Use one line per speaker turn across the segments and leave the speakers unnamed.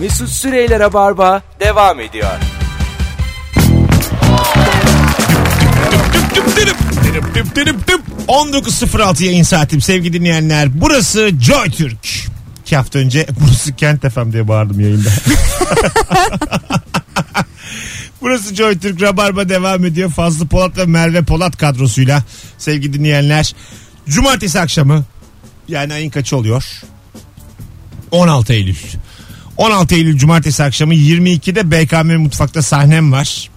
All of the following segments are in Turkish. Mesut Süreyler'e barba devam ediyor.
Düp düp dürüp, dürüp düp dürüp düp. 19.06 yayın saatim sevgili dinleyenler. Burası Joy Türk. İki hafta önce burası Kent FM diye bağırdım yayında. burası Joy Türk Rabarba devam ediyor. Fazlı Polat ve Merve Polat kadrosuyla sevgili dinleyenler. Cumartesi akşamı yani ayın kaçı oluyor? 16 Eylül. 16 Eylül Cumartesi akşamı 22'de BKM Mutfak'ta sahnem var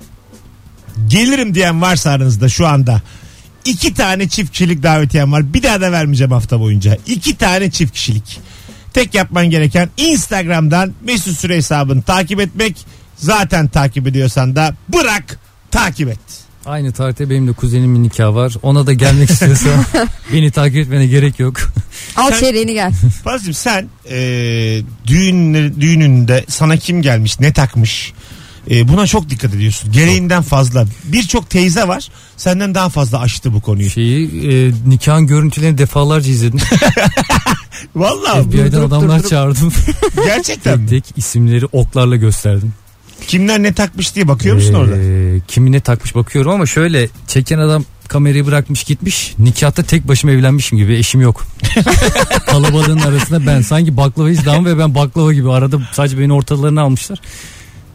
gelirim diyen varsa aranızda şu anda iki tane çift kişilik davetiyem var. Bir daha da vermeyeceğim hafta boyunca. İki tane çift kişilik. Tek yapman gereken Instagram'dan Mesut Süre hesabını takip etmek. Zaten takip ediyorsan da bırak takip et.
Aynı tarihte benim de kuzenimin nikahı var. Ona da gelmek istiyorsa beni takip etmene gerek yok.
Al
Sen-
çeyreğini gel.
Fazlım sen e, düğün, düğününde sana kim gelmiş ne takmış e, buna çok dikkat ediyorsun. Gereğinden fazla. Birçok teyze var senden daha fazla aştı bu konuyu.
Şeyi e, nikahın görüntülerini defalarca izledim.
Vallahi
FBI'den
Durup durup
adamlar
durup-
çağırdım.
E, Gerçekten mi?
tek tek isimleri oklarla gösterdim.
Kimler ne takmış diye bakıyor musun
Ee,
orada?
Kimine takmış bakıyorum ama şöyle çeken adam kamerayı bırakmış gitmiş. Nikahta tek başıma evlenmişim gibi eşim yok. Kalabalığın arasında ben sanki baklava izdam ve ben baklava gibi arada sadece beni ortalarına almışlar.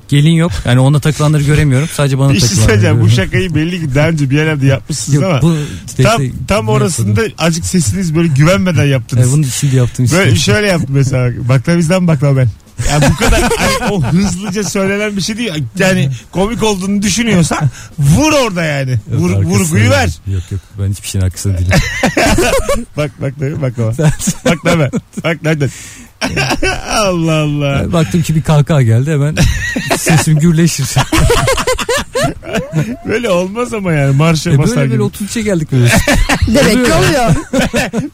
Gelin yok. Yani ona takılanları göremiyorum. Sadece bana
Bir şey
takılanları
söyleyeceğim. Bu
görüyorum.
şakayı belli ki daha önce bir yerlerde yapmışsınız
Yok,
ama
bu
tam,
işte-
tam orasında acık sesiniz böyle güvenmeden
E,
yaptınız.
bunu şimdi yaptım işte.
Böyle şöyle yaptım mesela. Bakla bizden bakla ben. Ya bu kadar hani o hızlıca söylenen bir şey değil. Yani komik olduğunu düşünüyorsan vur orada yani.
Yok,
Vur,
arkasında
vurguyu
yok.
ver.
Yok yok ben hiçbir şeyin arkasında değilim.
Bak bak bak bak bak. Bak lan ben. Bak lan ben. Allah Allah.
Ben baktım ki bir kahkaha geldi hemen sesim gürleşir.
Böyle olmaz ama yani marşa
e
basar
böyle
gibi.
böyle 33'e geldik böyle.
Demek ki oluyor.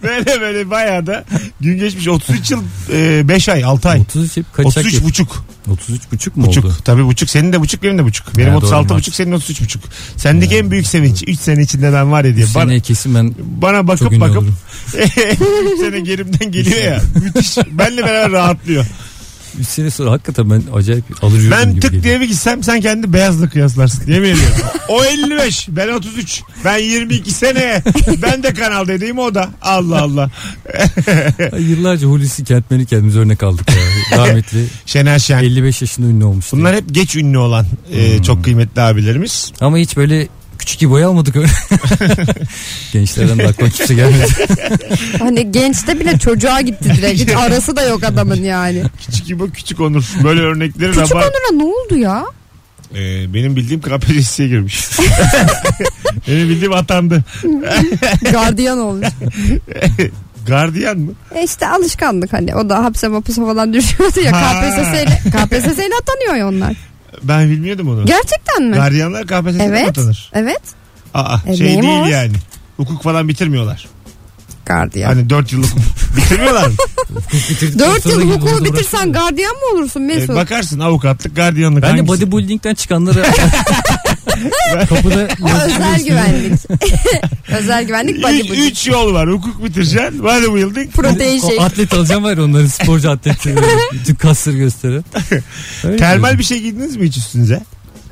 Böyle böyle bayağı da gün geçmiş 33 yıl 5 ay 6 ay.
33 hep kaçak
33
33,
buçuk.
33 buçuk mu oldu?
Buçuk. Tabii buçuk. Senin de buçuk benim de buçuk. Benim
Ha, doğru,
36
maç.
buçuk senin 33 buçuk. Sendeki en büyük sevinç. 3 sene içinde ben var ya diye.
Bu
E, Bana,
Seneye kesin ben
bana bakıp
çok ünlü
bakıp
olurum.
3 sene gerimden geliyor ya. Müthiş. Benle beraber rahatlıyor.
3 sene sonra hakikaten ben acayip alır yürürüm
Ben
gibi
tık
geliyor.
diye bir gitsem sen kendi beyazla kıyaslarsın. Yemin ediyorum. O 55. Ben 33. Ben 22 seneye. Ben de kanal dediğim o da. Allah Allah.
Ay, Yıllarca Hulusi Kentmen'i kendimiz örnek aldık ya. Rahmetli
Şener Şen.
55 yaşında ünlü olmuş. diye.
Bunlar hep geç ünlü olan e, çok kıymetli abilerimiz.
Ama hiç böyle küçük gibi boy almadık öyle. Gençlerden de aklıma kimse gelmedi.
Hani gençte bile çocuğa gitti direkt. Hiç arası da yok adamın yani.
Küçük gibi küçük Onur. Böyle örnekleri
Küçük
rabar-
Onur'a ne oldu ya?
Ee, benim bildiğim KPSS'ye girmiş. benim bildiğim atandı.
Gardiyan olmuş.
Gardiyan mı?
E işte alışkanlık hani. O da hapse mapse falan düşüyordu ya.
Ha.
KPSS ile, KPSS ile atanıyor ya onlar.
Ben bilmiyordum onu.
Gerçekten mi?
Gardiyanlar KPSS'ye
Evet.
atanır.
Evet.
Aa,
E,
şey
neyim
değil
o?
yani. Hukuk falan bitirmiyorlar.
Gardiyan.
Hani 4 yıllık hukuk bitirmiyorlar mı?
Dört yıl hukuku bitirsen gardiyan mı olursun
Ee,
Mesut?
bakarsın avukatlık, gardiyanlık
Ben de
hangisi?
bodybuilding'den çıkanlara kapıda
Özel güvenlik. Özel güvenlik body
Üç,
building.
üç yol var. Hukuk bitireceksin. Bodybuilding.
Protein şey.
Atlet alacağım var ya onların sporcu atleti. böyle Bütün kasları gösteren. Öyle
Termal bir şey giydiniz mi hiç üstünüze?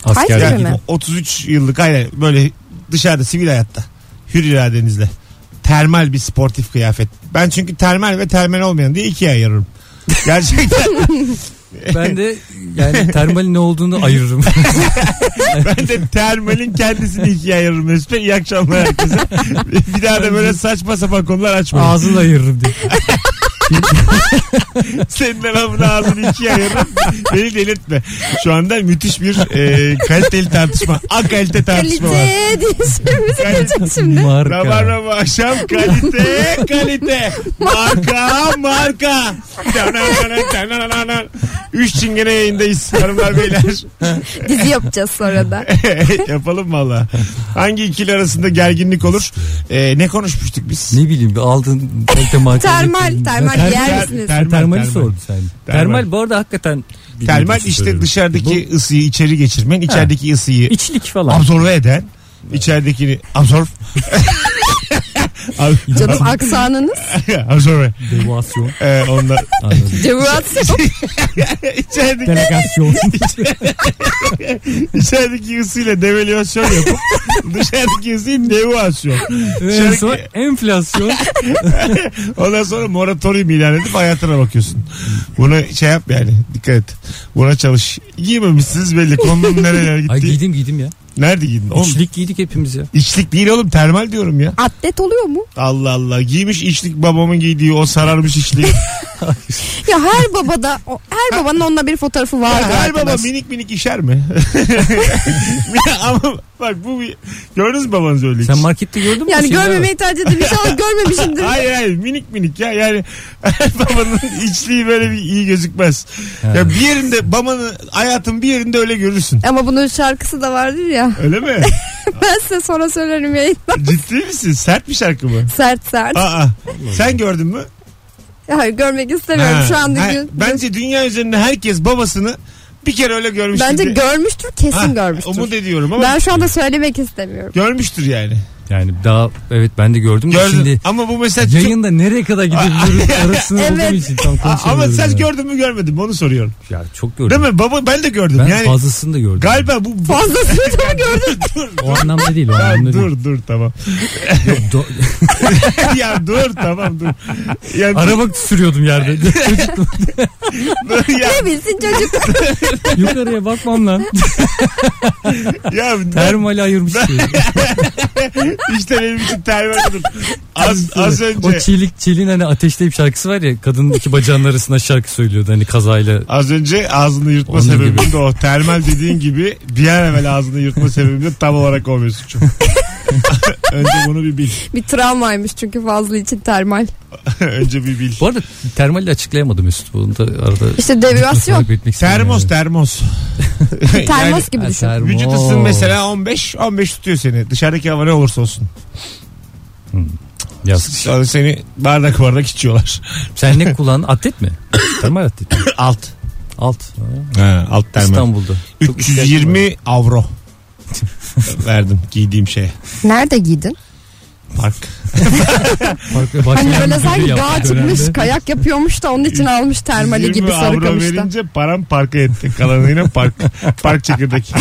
asker.
Hayır.
Yani
Yani
mi?
33 yıllık aynen böyle dışarıda sivil hayatta. Hür iradenizle. Termal bir sportif kıyafet. Ben çünkü termal ve termal olmayan diye ikiye ayırırım. Gerçekten
ben de yani termalin ne olduğunu ayırırım.
ben de termalin kendisini ikiye ayırırım Mesut Bey. İyi akşamlar herkese. Bir daha da böyle saçma sapan konular açmayın.
Ağzını ayırırım diye.
Senin ben bunu ağzını ikiye ayırırım. Beni delirtme. Şu anda müthiş bir e, kaliteli tartışma. Akalite tartışma var.
Kalite diye şeyimiz
Kalite-
gelecek şimdi.
Marka.
Rabarba bu akşam kalite kalite. Marka marka. Üç çingene yayındayız hanımlar beyler.
Dizi yapacağız sonra da.
Yapalım valla. Hangi ikili arasında gerginlik olur? Ee, ne konuşmuştuk biz?
Ne bileyim bir aldın kalite marka.
Termal, termal
Ter-
yer
ter-
misiniz?
Termali
Termal.
sordun sen. Termal. bu arada hakikaten. bir
Termal
bilgisi
işte
söylüyorum.
dışarıdaki ısıyı içeri geçirmek, içerideki ısıyı
İçlik falan.
absorbe eden, içeridekini absorb Abi,
Canım aksanınız.
I'm sorry.
Devasyon.
Ee, onlar...
Anladım.
Devasyon.
içerideki,
Delegasyon.
içerideki ısıyla devalüasyon yapıp dışarıdaki ısıyı devalüasyon.
en son enflasyon.
Ondan sonra moratorium ilan edip hayatına bakıyorsun. Buna şey yap yani dikkat et. Buna çalış. Giymemişsiniz belli. Konunun nerelere gitti.
Ay giydim giydim ya.
Nerede giydin? Oğlum, içlik.
Üçlük giydik hepimiz ya.
değil oğlum termal diyorum ya.
Atlet oluyor mu?
Allah Allah. Giymiş içlik babamın giydiği o sararmış içliği.
Ya her babada o- her babanın onunla bir fotoğrafı vardı.
Her baba
arkadaş.
minik minik işer mi? Ama bak bu bir... Gördünüz mü babanız öyle hiç?
Sen markette gördün mü?
Yani
şeyleri?
görmemeyi tercih edip inşallah görmemişimdir.
Hayır hayır minik minik ya yani babanın içliği böyle bir iyi gözükmez. Ya bir yerinde babanın hayatın bir yerinde öyle görürsün.
Ama bunun şarkısı da vardır ya.
Öyle mi?
Ben size sonra söylerim yayında.
Ciddi misin? Sert bir şarkı mı?
Sert sert.
Aa, sen gördün mü?
Hayır görmek istemiyorum
Ha.
şu anda.
Ha,
gö-
Bence dünya üzerinde herkes babasını bir kere öyle görmüştür.
Bence
diye-
görmüştür kesin
Ha,
görmüştür.
Umut ediyorum ama
Ben şu anda söylemek istemiyorum.
görmüştür yani.
Yani daha evet ben de gördüm. de
Gördün.
Şimdi
Ama bu mesela çok-
yayında nereye kadar gidebiliyoruz arasında
Evet.
olduğum için tam
Aa,
konuşamıyorum.
ama sen
ya.
gördün mü görmedin mi onu soruyorum.
Ya çok gördüm.
Değil mi? Baba ben de gördüm.
Ben
yani
fazlasını da gördüm.
galiba bu
Fazlasını da mı gördün?
O anlamda değil. O
Ha,
anlamda değil.
dur dur tamam.
Do-
ya dur tamam dur. Ya,
Araba sürüyordum yerde.
dur, ya,
Ne bilsin çocuk.
Yukarıya bakmam lan.
ya,
Termali ayırmış. diye.
işte benim için termal dur. Az, az
O
önce
çelik çelin hani ateşleyip şarkısı var ya kadının iki bacağının arasına şarkı söylüyordu hani kazayla.
Az önce ağzını yırtma
Onun
sebebim
gibi.
de o. Termal dediğin gibi bir an evvel ağzını yırtma sebebim de tam olarak o Mesut'cum. önce bunu bir bil.
bir travmaymış çünkü fazla için termal.
önce bir bil.
Bu arada termali açıklayamadım Mesut. Bunu da arada
İşte deviyasyon.
fark etmek istedim
Termos
yani.
termos.
Termos gibi
Ha,
düşün.
termos.
Vücut ısın mesela 15, 15 tutuyor seni. Dışarıdaki hava ne olursa olsun.
Yaz.
Sonra seni bardak bardak içiyorlar.
Sen ne kullandın? Atlet mi? Termal atlet.
Alt.
Alt.
Ha, alt termal.
İstanbul'da. Çok ihtiyacım var.
320 avro verdim giydiğim şeye.
Nerede giydin?
Park.
Farklı
Hani
başlayan
böyle
müdürü
sanki
yaptığı
dağa çıkmış
şey dönemde.
kayak yapıyormuş da onun için almış termali
120
gibi
avro
Sarıkamış'ta.
verince param parka etti. Kalanı yine park. park çekirdek.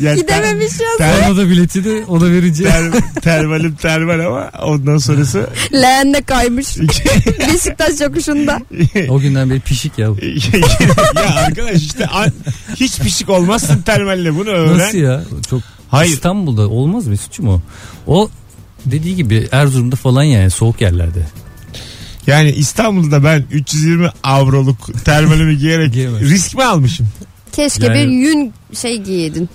yani
Gidememiş ya.
Ter,
Ona da bileti de ona verince.
ter, termalim termal ama ondan sonrası
Leğende kaymış. Beşiktaş yokuşunda.
o günden beri pişik ya.
ya arkadaş işte an- hiç pişik olmazsın termalle bunu öğren.
Nasıl ya? Çok
Hayır.
İstanbul'da olmaz mı suçu mu? O dediği gibi Erzurum'da falan yani soğuk yerlerde.
Yani İstanbul'da ben 320 avroluk termalimi giyerek
Giyemez.
risk mi almışım?
Keşke
Yani-
bir yün şey giydin.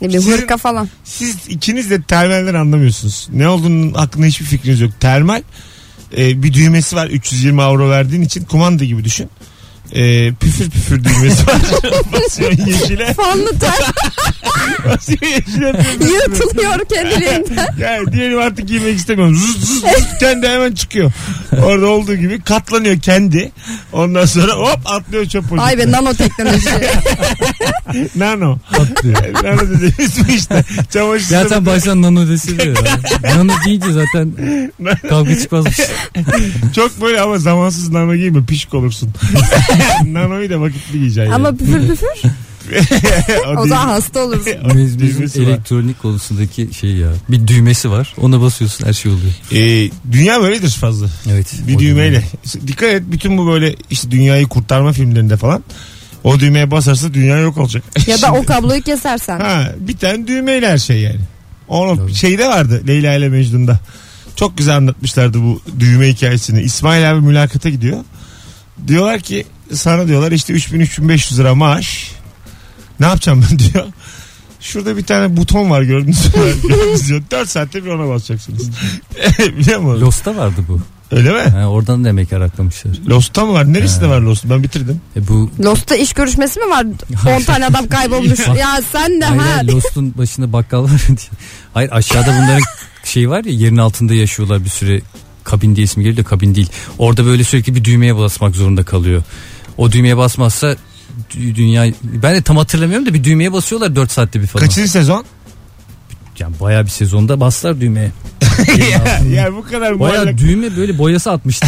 Ne bileyim
Sizin-
hırka falan.
Siz ikiniz de termalden anlamıyorsunuz. Ne olduğunun hakkında hiçbir fikriniz yok. Termal e, bir düğmesi var 320 avro verdiğin için kumanda gibi düşün. E, püfür püfür düğmesi var. Basıyorsun yeşile.
Fanlı ter
Basıyorsun yeşile. püfür püfür.
yırtılıyor kendiliğinden.
Yani diyelim artık giymek istemiyorum. Zuz zuz zuz kendi hemen çıkıyor. Orada olduğu gibi katlanıyor kendi. Ondan sonra hop atlıyor çöp poşetine.
Ay be nanoteknoloji.
Nano.
Atlıyor.
Nano dediğimiz bu işte. Çamaşır
Ya sen baştan nano deseydi ya. nano deyince zaten kavga çıkmazmış.
Çok böyle ama zamansız nano giyme pişik olursun. Nanoyu da vakitli giyeceksin.
Ama püfür püfür.
yani.
O
değil.
zaman hasta olursun.
O
Biz,
düğmesi
bizim
var.
elektronik konusundaki şey ya. Bir düğmesi var. Ona basıyorsun her şey oluyor.
Ee, dünya böyledir fazla.
Evet.
Bir
o
düğmeyle. Dikkat et bütün bu böyle işte dünyayı kurtarma filmlerinde falan. O düğmeye basarsa dünya yok olacak.
Ya da o kabloyu kesersen.
Ha, bir tane düğmeyle her şey yani. Onun
Tabii.
şeyde vardı Leyla ile Mecnun'da. Çok güzel anlatmışlardı bu düğme hikayesini. İsmail abi mülakata gidiyor. Diyorlar ki sana diyorlar işte 3000-3500 lira maaş. Ne yapacağım ben diyor. Şurada bir tane buton var gördünüz mü? gördünüz diyor. 4 saatte bir ona basacaksınız. Biliyor musun?
Lost'ta vardı bu.
Öyle mi?
Ha, oradan demek araklamışlar.
Lost'ta mı var? Neresinde var Lost? Ben bitirdim.
E bu
Lost'ta iş görüşmesi mi var? 10 tane adam kaybolmuş. ya sen de
Hayır,
ha.
hayır, Lost'un başında bakkal var diye. Hayır aşağıda bunların şey var ya yerin altında yaşıyorlar bir süre. Kabin diye ismi geliyor da kabin değil. Orada böyle sürekli bir düğmeye basmak zorunda kalıyor. O düğmeye basmazsa dü- dünya ben de tam hatırlamıyorum da bir düğmeye basıyorlar 4 saatte bir falan.
Kaçıncı sezon?
Yani bayağı bir sezonda baslar düğmeye.
ya, ya bu kadar muallak,
Baya düğme böyle boyası atmıştı.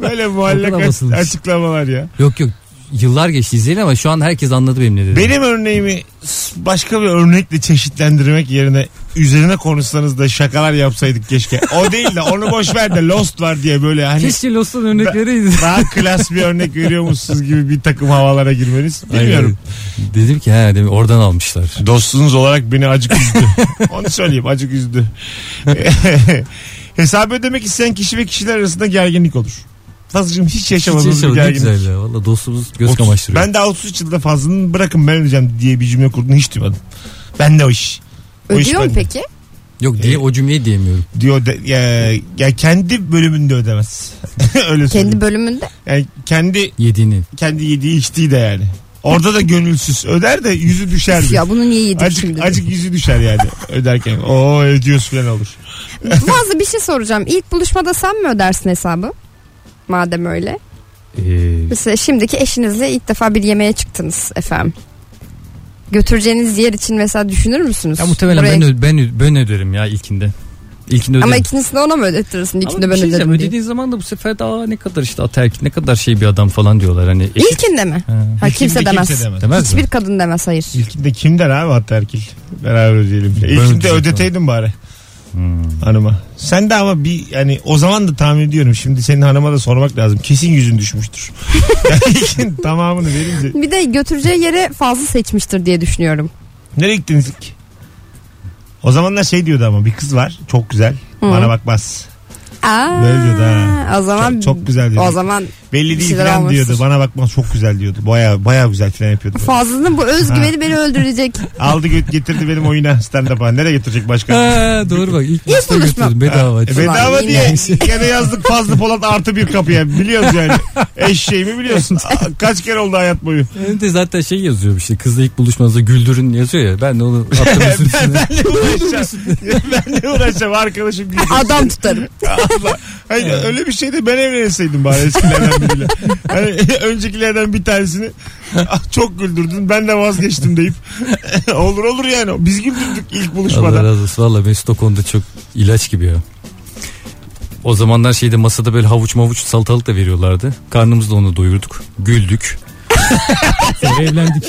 böyle
o
muallak
kadar basılmış.
açıklamalar ya.
yok yok yıllar geçti izleyelim ama şu an herkes anladı benim ne dediğimi.
Benim örneğimi s- başka bir örnekle çeşitlendirmek yerine üzerine konuşsanız da şakalar yapsaydık keşke. O değil de onu boş ver de Lost var diye böyle hani
Keşke Lost'un örnekleri
daha klas bir örnek veriyormuşsunuz gibi bir takım havalara girmeniz. Bilmiyorum.
Aynen. Dedim ki he dedim, oradan almışlar.
Dostunuz olarak beni acık üzdü. Onu söyleyeyim acık üzdü. Hesap ödemek isteyen kişi ve kişiler arasında gerginlik olur. Fazlacığım hiç yaşamadığınız
Hiç yaşamadık,
bir
ne
gerginlik.
güzel ya. Valla dostumuz göz
Otuz-
kamaştırıyor.
Ben daha 33 yılda fazlını bırakın ben ödeyeceğim diye bir cümle kurdum hiç duymadım. Ben de o iş. O iş
Ödüyor mu
bende.
peki?
Yok diye o cümleyi diyemiyorum.
Diyor de- ya, ya kendi bölümünde ödemez. Öyle söyleyeyim.
Kendi bölümünde.
Yani kendi
Yediğini.
kendi yediği içtiği de yani. Orada da gönülsüz öder de yüzü düşer.
Ya bunu niye yedik
Acık,
şimdi?
acık yüzü düşer yani öderken. O ödüyoruz falan olur.
Bazı bir şey soracağım. İlk buluşmada sen mi ödersin hesabı? Madem öyle.
Ee,
Mesela şimdiki eşinizle ilk defa bir yemeğe çıktınız efendim. Götüreceğiniz yer için mesela düşünür müsünüz?
ya muhtemelen
Buraya-
ben, ö- ben, ö- ben öderim ya ilkinde. İlkinde öderim.
Ama ikincisini ona mı ödettirirsin? İlkinde
bir
ben
şey diyeceğim,
öderim diye.
ödediğin zaman da bu sefer de "Aa, ne kadar işte aterk ne kadar şey bir adam falan diyorlar. Hani e- eşit-
İlkinde mi?
Ha.
Ha, kimse
İlkinde
demez.
Demez
Hiçbir
mi?
kadın demez hayır.
İlkinde kim der abi hatta erkil? Beraber ödeyelim. İlkinde
ödeyecektim.
ödeteydin bari
Hmm.
hanıma. Sen de ama bir yani o zaman da tahmin ediyorum. Şimdi senin hanıma da sormak lazım. Kesin yüzün düşmüştür. yani ilkin tamamını verince.
Bir de götüreceği yere fazla seçmiştir diye düşünüyorum.
Nereye gittiniz ilk? O zamanlar şey diyordu ama bir kız var çok güzel.
Hı.
Bana bakmaz.
Aa,
Böyle diyordu ha.
O zaman
Çok, çok güzel diyordu.
o zaman
Belli değil
şeyler
falan
almıştır.
diyordu. Bana bakmaz çok güzel diyordu. Baya baya güzel falan yapıyordu.
Fazlı'nın bu özgüveni beni öldürecek.
Aldı gö- getirdi benim oyuna stand up'a. Nereye getirecek başka?
Ha, doğru bak ilk,
İlk
başta
buluşma.
götürdüm bedava.
E, bedava
Ulan
diye gene yazdık Fazlı Polat artı bir kapıya. Biliyoruz yani. Eşeğimi biliyorsun. Aa, Kaç kere oldu hayat boyu.
Önde zaten şey yazıyor işte kızla ilk buluşmanızda güldürün yazıyor ya ben de onu attım üstüne.
Ne uğraşacağım? ben ne uğraşacağım arkadaşım gibi.
Adam tutarım.
Allah. Hayır, öyle bir şey de ben evlenseydim bari eskilerden biriyle. Hani, öncekilerden bir tanesini "Ah, çok güldürdün ben de vazgeçtim deyip. olur olur yani. Biz güldürdük ilk
Allah
buluşmada.
razı olsun valla Mesut o konuda çok ilaç gibi ya. O zamanlar şeyde masada böyle havuç mavuç salatalık da veriyorlardı. Karnımızla onu doyurduk. Güldük. Sonra evlendik.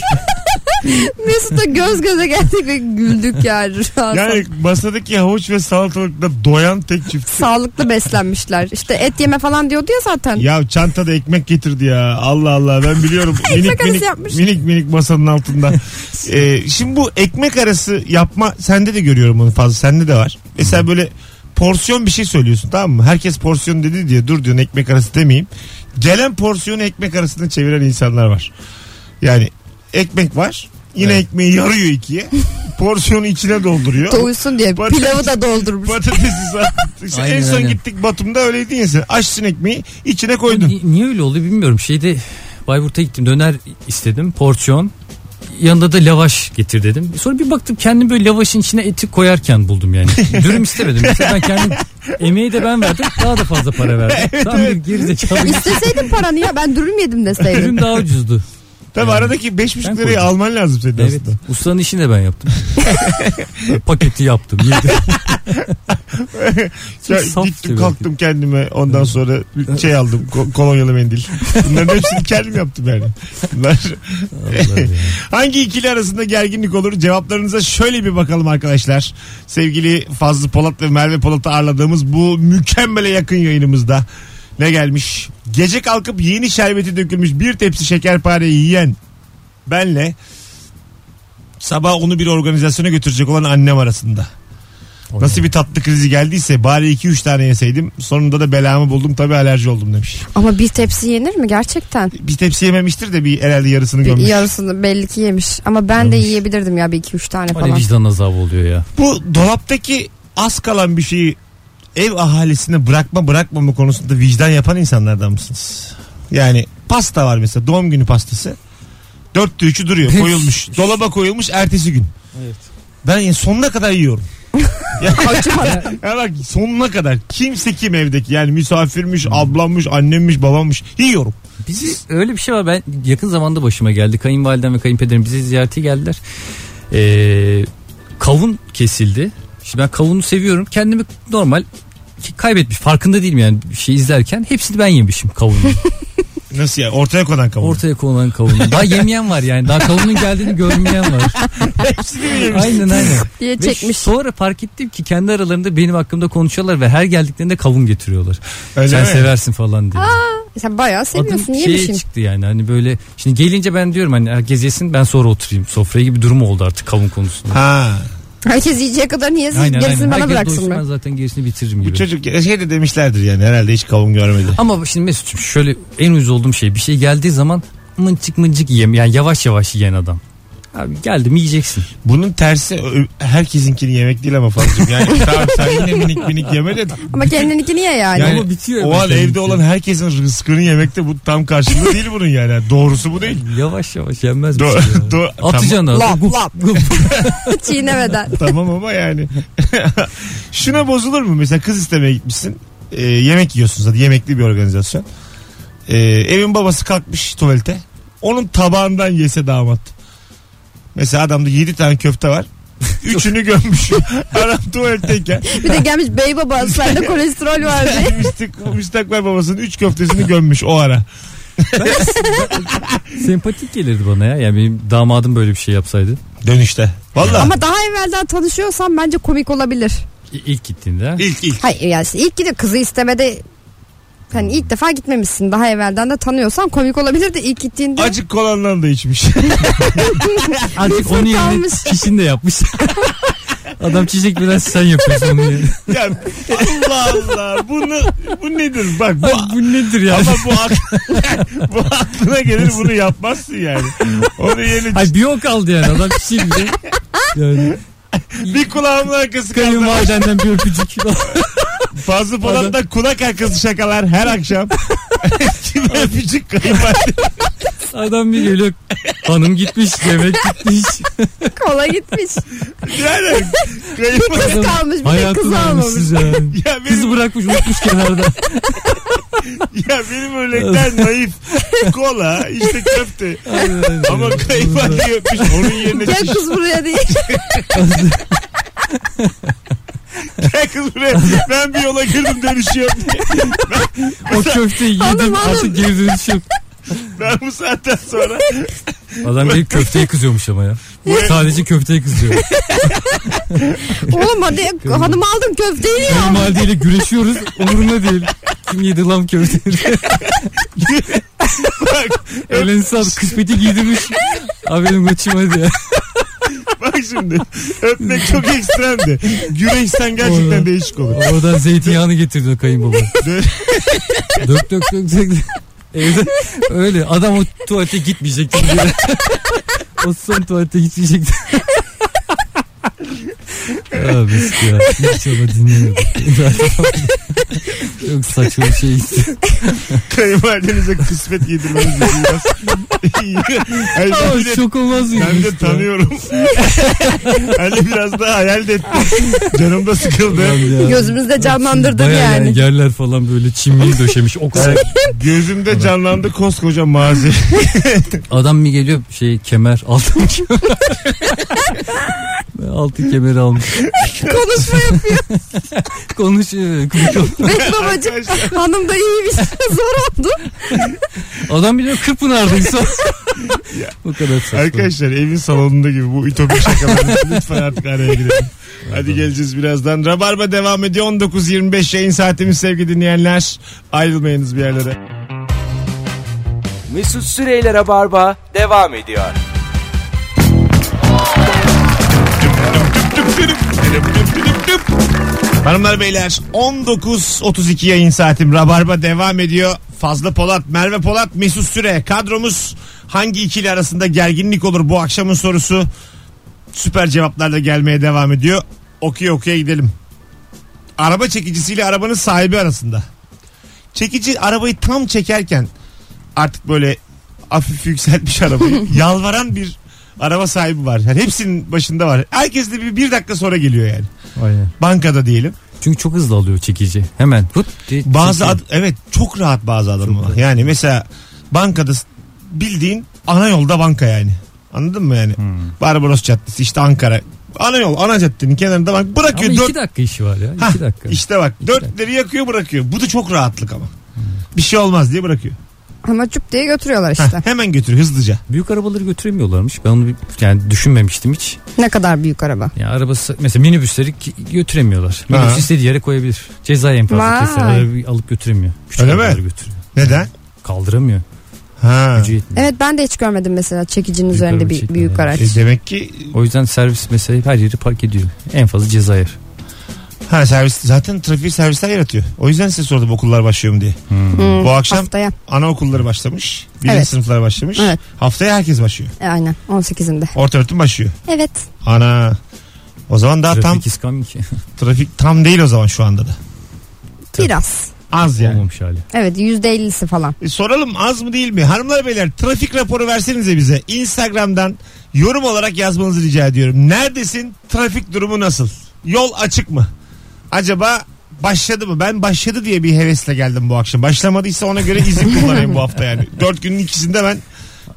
Mesut'la göz göze geldik ve güldük ya.
Yani masadaki havuç ve salatalıkta doyan tek çift.
Sağlıklı beslenmişler. İşte et yeme falan diyordu ya zaten.
Ya çantada ekmek getirdi ya. Allah Allah ben biliyorum. minik
arası
minik,
yapmış.
minik minik masanın altında. Ee, şimdi bu ekmek arası yapma sende de görüyorum onu fazla. Sende de var. Mesela böyle porsiyon bir şey söylüyorsun tamam mı? Herkes porsiyon dedi diye dur diyorsun ekmek arası demeyeyim. Gelen porsiyonu ekmek arasında çeviren insanlar var. Yani ekmek var. Yine
Evet.
ekmeği yarıyor ikiye. Porsiyonu içine dolduruyor.
Doysun diye
Patates-
pilavı da doldurmuş.
Patatesi sattı. İşte en
Aynen,
son
aynen.
gittik Batum'da öyleydin ya sen. Açsın ekmeği içine koydun.
Ni- Niye öyle oldu bilmiyorum. Şeyde Bayburt'a gittim döner istedim. Porsiyon. Yanında da lavaş getir dedim. Sonra bir baktım kendim böyle lavaşın içine eti koyarken buldum yani. Dürüm istemedim. Mesela ben kendim emeği de ben verdim. Daha da fazla para verdim. Tam bir gerizekalı.
İsteseydin paranı ya ben dürüm yedim deseydin.
Dürüm daha ucuzdu.
Tabii
Yani.
aradaki 5,5
Ben
lirayı
koydum.
alman lazım senin
Evet.
aslında.
Ustanın işini de ben yaptım. Paketi yaptım. yedim.
Ya
Saf
gittim
tabii.
kalktım kendime ondan sonra bir şey aldım ko- kolonyalı mendil. Bunların hepsini kendim yaptım yani. Bunlar-
Allah ya.
Hangi ikili arasında gerginlik olur? Cevaplarınıza şöyle bir bakalım arkadaşlar. Sevgili Fazlı Polat ve Merve Polat'ı ağırladığımız bu mükemmele yakın yayınımızda ne gelmiş? Gece kalkıp yeni şerbeti dökülmüş bir tepsi şekerpareyi yiyen benle sabah onu bir organizasyona götürecek olan annem arasında. Nasıl bir tatlı krizi geldiyse bari 2-3 tane yeseydim. Sonunda da belamı buldum tabii alerji oldum demiş.
Ama bir tepsi yenir mi gerçekten?
Bir tepsi yememiştir de bir herhalde yarısını
Bir
gömmüş.
yarısını belli ki yemiş. Ama ben de yiyebilirdim ya bir iki üç tane
O ne
falan.
vicdan azabı oluyor ya.
Bu dolaptaki az kalan bir şeyi ev ahalisine bırakma bırakmama konusunda vicdan yapan insanlardan mısınız? Yani pasta var mesela doğum günü pastası. Dörtte üçü duruyor koyulmuş. Dolaba koyulmuş ertesi gün.
Evet.
Ben ya sonuna kadar yiyorum. ya,
Acımadan.
ya bak sonuna kadar kimse kim evdeki yani misafirmiş, ablammış, annemmiş, babammış yiyorum.
Bizi öyle bir şey var. Ben yakın zamanda başıma geldi. Kayınvalidem ve kayınpederim bizi ziyarete geldiler. Ee, kavun kesildi. Şimdi ben kavunu seviyorum. Kendimi normal ki- kaybetmiş. Farkında değilim yani bir şey izlerken. Hepsini ben yemişim kavunu.
Nasıl ya? Ortaya konan kavun.
Ortaya konulan kavunu. Daha yemeyen var yani. Daha kavunun geldiğini görmeyen var. aynen aynen.
diye
Ve
çekmiş.
sonra fark ettim ki kendi aralarında benim hakkımda konuşuyorlar ve her geldiklerinde kavun getiriyorlar.
Öyle
Sen
mi?
seversin falan diye.
Sen bayağı seviyorsun
Adım şeye
yemişin.
çıktı yani hani böyle şimdi gelince ben diyorum hani herkes yesin ben sonra oturayım sofraya gibi durum oldu artık kavun konusunda.
Ha.
Herkes yiyeceğe kadar niye
Aynen,
gerisini
aynen.
bana
Herkes
bıraksın
doysun, ben
mı?
zaten gerisini bitiririm
Bu
gibi.
çocuk ya- şey de demişlerdir yani herhalde hiç kavun görmedi.
Ama şimdi Mesut'cum şöyle en uyuz olduğum şey bir şey geldiği zaman mıncık mıncık yem yani yavaş yavaş yiyen adam. Abi geldim yiyeceksin.
Bunun tersi ö- herkesinkini yemek değil ama fazlacığım. Yani tamam sen yine minik minik yeme de
Ama kendininkini ye yani.
Yani
Ama bitiyor
o
hemen
an
tabii
evde
ki.
olan herkesin rızkını yemekte bu tam karşılığı değil bunun yani. Doğrusu bu değil.
Yavaş yavaş yenmez bir
Do-
şey ya.
do-
Atacaksın ağzına.
Lap,
Gup,
lap.
gup.
Çiğnemeden.
tamam ama yani. Şuna bozulur mu? Mesela kız istemeye gitmişsin. Ee, yemek yiyorsunuz hadi yemekli bir organizasyon. Ee, evin babası kalkmış tuvalete. Onun tabağından yese damat. Mesela adamda 7 tane köfte var. Üçünü gömmüş. Adam tuvaletteyken.
Bir de gelmiş bey baba sende kolesterol var diye.
Müstak, müstakbel babasının 3 köftesini gömmüş o ara.
Sempatik gelirdi bana ya. Yani benim damadım böyle bir şey yapsaydı.
Dönüşte. Valla.
Ama daha evvelden tanışıyorsan bence komik olabilir.
İ- İlk gittiğinde. ha.
İlk ilk.
Hayır yani işte ilk gidip kızı istemede hani ilk defa gitmemişsin daha evvelden de tanıyorsan komik olabilir de ilk gittiğinde
Acık kolandan da içmiş.
Artık
Nefret
onu yerine
almış.
çişini de yapmış. Adam çiçek biraz sen yapıyorsun onu yerine.
ya Allah Allah. Bu, ne, bu nedir? Bak bu,
Ay bu nedir ya?
ama bu, ak- bu aklına gelir bunu yapmazsın yani. Onu yeni
Ay bir o kaldı yani adam şimdi. Yani
bir kulağımın arkası kaldı.
kayınvalidenden bir öpücük.
Fazla Polat'ta kulak arkası şakalar her akşam. Kime öpücük kayınvalide.
Adam bir geliyor. Hanım gitmiş, yemek gitmiş.
kola gitmiş.
Yani kayınvalide.
Kız kalmış bir de kız
Hayatını
almamış.
almışsınız ya.
Ya
Kızı
benim,
bırakmış unutmuş kenarda.
ya benim örnekler naif. Kola işte köfte. Ama kayınvalide öpmüş onun yerine
Gel
şiş.
kız buraya diye.
Gel kız buraya. Ben bir yola girdim dönüşüyorum diye.
o köfteyi yedim
Hanım, hanım.
artık geri dönüş yok.
Ben bu saatten sonra
Adam gelip köfteye kızıyormuş ama ya. Sadece köfteye kızıyor.
Oğlum hadi hanım aldım köfteyi niye aldın?
Kayınvalideyle güreşiyoruz. Umurumda değil. Kim yedi lan köfteyi?
bak,
Elini sağlık. Kısmeti giydirmiş. Abi benim koçum hadi ya.
bak şimdi öpmek çok ekstremdi. Güreşten gerçekten
Doğru.
değişik olur.
Oradan zeytinyağını getirdi o kayınbaba.
Dö-
dök dök dök dök. Evde öyle adam o tuvalete gitmeyecekti. diye. o son tuvalete gitmeyecekti. Abi işte Ah, ya. Hiç ama dinlemiyorum. Çok saçma bir şey.
Kayınvalidenize kısmet yedirmeniz biraz. Hayır, ben,
Ama
bile,
şok olmaz mıydı?
ben de
işte?
tanıyorum. hani biraz daha hayal de ettim. Canım da sıkıldı.
Ulan ya.
Gözümüzde canlandırdım
Bayağı
yani.
Yerler falan böyle çimliği döşemiş. O kadar.
Gözümde canlandı koskoca mazi.
Adam mı geliyor şey kemer altın kemer. altın kemer almış.
Konuşma yapıyor.
Konuşuyor. konuşuyor.
Bey babacım
Arkadaşlar,
hanım da iyiymiş. Zor oldu.
Adam biliyor Kırpınar'daysa. Bu kadar saçma.
Arkadaşlar evin salonunda gibi bu ütopik şakalar lütfen artık araya girelim. Hadi geleceğiz birazdan. Rabarba devam ediyor 19.25 yayın saatimiz sevgili dinleyenler. Ayrılmayınız bir yerlere.
Mesut Süreyler'e barba devam ediyor.
Hanımlar beyler 19.32 yayın saatim Rabarba devam ediyor. Fazla Polat, Merve Polat, Mesut Süre kadromuz hangi ikili arasında gerginlik olur bu akşamın sorusu süper cevaplarla gelmeye devam ediyor. Okuya okuya gidelim. Araba çekicisiyle arabanın sahibi arasında. Çekici arabayı tam çekerken artık böyle hafif yükseltmiş arabayı yalvaran bir araba sahibi var. Yani hepsinin başında var. Herkes de bir, bir dakika sonra geliyor yani.
Aynen.
Bankada diyelim.
Çünkü çok hızlı alıyor çekici. Hemen. Hıp diye
Bazı
çekiyor.
ad- evet çok rahat bazı adamlar. var. Yani mesela bankada s-
Hmm.
bildiğin ana yolda banka yani. Anladın mı yani? Barbaros Caddesi işte Ankara Ana yol ana caddenin kenarında bak
Ama
bırakıyor.
iki
dört-
dakika işi var ya.
Hah,
iki dakika. Hmm.
İşte bak
İki
dörtleri yakıyor bırakıyor. Bu da çok rahatlık ama. Bir şey olmaz diye bırakıyor.
Ama çüp diye götürüyorlar
Hah,
işte.
hemen götür hızlıca.
Büyük arabaları götüremiyorlarmış. Ben onu bir- yani düşünmemiştim hiç.
ne kadar büyük araba.
Ya arabası mesela minibüsleri ki- götüremiyorlar. Minibüs
Ha.
istediği yere koyabilir. Ceza
Vay.
infazı keser. Arabayı alıp götüremiyor. Küçük
Öyle mi?
arabaları götürüyor.
Neden?
Kaldıramıyor.
Ha.
Gücü yetmiyor.
Evet ben de hiç görmedim mesela çekicinin
Büyük
üzerinde
araba
bir
çekmiyor
büyük
yani.
araç.
E demek ki
O yüzden servis mesela her yeri park ediyor. En fazla ceza yer.
ha servis zaten trafiği servisler yaratıyor. O yüzden size sordum okullar başlıyor mu diye.
Hmm,
Bu akşam-
Haftaya.
Anaokulları başlamış. Birinci
Evet.
sınıflar başlamış.
Evet.
Haftaya herkes başlıyor.
E, aynen 18'inde.
Orta öğretim başlıyor.
Evet.
Ana. O zaman daha
Trafik
tam
iskami ki.
trafik tam değil o zaman şu anda da.
Tabii.
Biraz.
Az yani.
Olmamış hali.
Evet %50'si falan.
E, soralım az mı değil mi? Hanımlar beyler trafik raporu versenize bize. Instagram'dan yorum olarak yazmanızı rica ediyorum. Neredesin? Trafik durumu nasıl? Yol açık mı? Acaba başladı mı? Ben başladı diye bir hevesle geldim bu akşam. Başlamadıysa ona göre izin kullanayım bu hafta yani. Dört günün ikisinde ben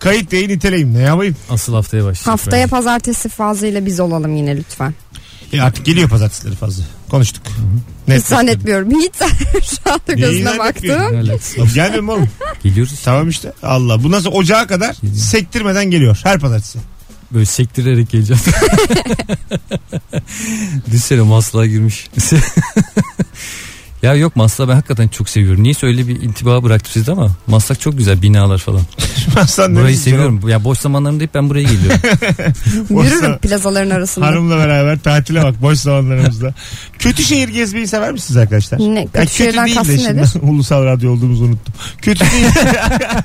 kayıt yayın niteleyim. Ne yapayım?
Asıl haftaya başlayacak.
Haftaya
bence.
pazartesi fazlıyla biz olalım yine lütfen.
E, artık geliyor pazartesileri fazla. Konuştuk. Net.
Hiç zannetmiyorum. Hiç zannetmiyorum. Şu anda
Neyi
gözüne
zannetmiyorsun?
baktım.
Yani
Gelmiyor mu oğlum?
Geliyoruz.
Tamam işte. Allah. Bundan sonra ocağa kadar sektirmeden geliyor. Her pazartesi.
Böyle sektirerek geleceğim. Düşsene masla girmiş. ya yok masla ben hakikaten çok seviyorum. Niye öyle bir intiba bıraktı sizde ama maslak çok güzel binalar falan.
Aslan ne
Burayı
diyeceksin oğlum?
seviyorum. Ya boş zamanlarımda hep ben buraya geliyorum.
Oysa-
Yürürüm plazaların arasında.
Hanımla beraber tatile bak boş zamanlarımızda. kötü şehir gezmeyi sever misiniz arkadaşlar?
Ne,
Ya
kötü şeyden
değil de
kastın
şimdi
nedir?
ulusal radyo olduğumuzu unuttum. Kötü değil.